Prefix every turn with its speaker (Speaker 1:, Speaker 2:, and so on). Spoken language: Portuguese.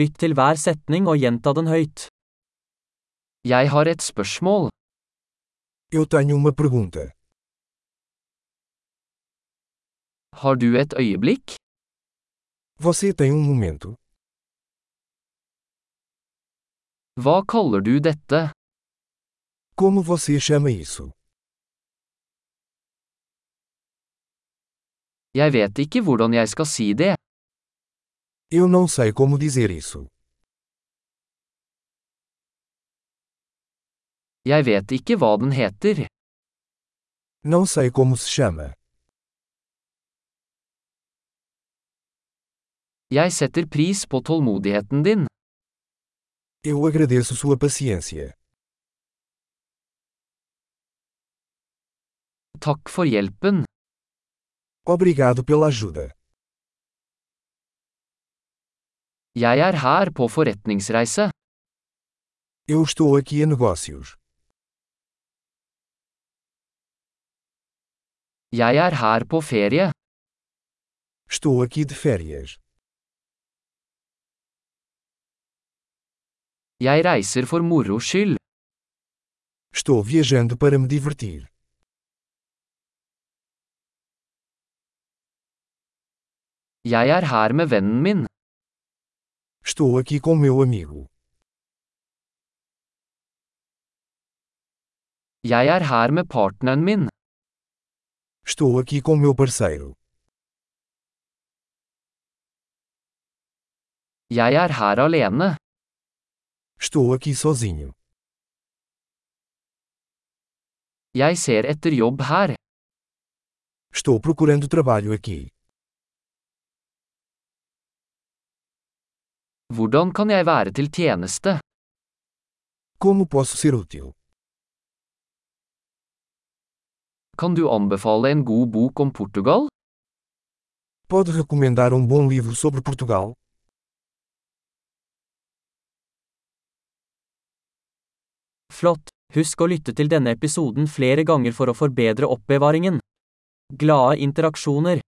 Speaker 1: Lytt til hver setning og gjenta den høyt. Jeg har et spørsmål.
Speaker 2: Eu tenho uma pergunta.
Speaker 1: Har du et øyeblikk?
Speaker 2: Você tem um momento?
Speaker 1: Hva kaller du dette?
Speaker 2: Como você chama isso?
Speaker 1: Jeg vet ikke hvordan jeg skal si det.
Speaker 2: Eu não sei como dizer isso.
Speaker 1: Jeg vet ikke hva den heter.
Speaker 2: Não sei como se chama.
Speaker 1: Jeg setter pris på tålmodigheten din.
Speaker 2: Eu agradeço sua paciência.
Speaker 1: Takk for hjelpen.
Speaker 2: Obrigado pela ajuda.
Speaker 1: Jeg er her på forretningsreise.
Speaker 2: Eu estou aqui a negócios.
Speaker 1: Jeg er her på ferie.
Speaker 2: Estou aqui de férias.
Speaker 1: Jeg reiser for moro skyld.
Speaker 2: Estou viajando para me divertir.
Speaker 1: Jeg er her med vennen min.
Speaker 2: Estou aqui com meu amigo.
Speaker 1: Jeg er her med partneren min.
Speaker 2: Estou aqui com meu parceiro.
Speaker 1: Jeg er her alene.
Speaker 2: Estou aqui sozinho.
Speaker 1: Jeg ser etter jobb her.
Speaker 2: Estou procurando trabalho aqui.
Speaker 1: Hvordan kan jeg være til tjeneste?
Speaker 2: Como posso ser útil?
Speaker 1: Kan du anbefale en god bok om Portugal?
Speaker 2: Pode recomendar um bom livro sobre Portugal?
Speaker 1: Flott! Husk å lytte til denne episoden flere ganger for å forbedre oppbevaringen. Glade interaksjoner!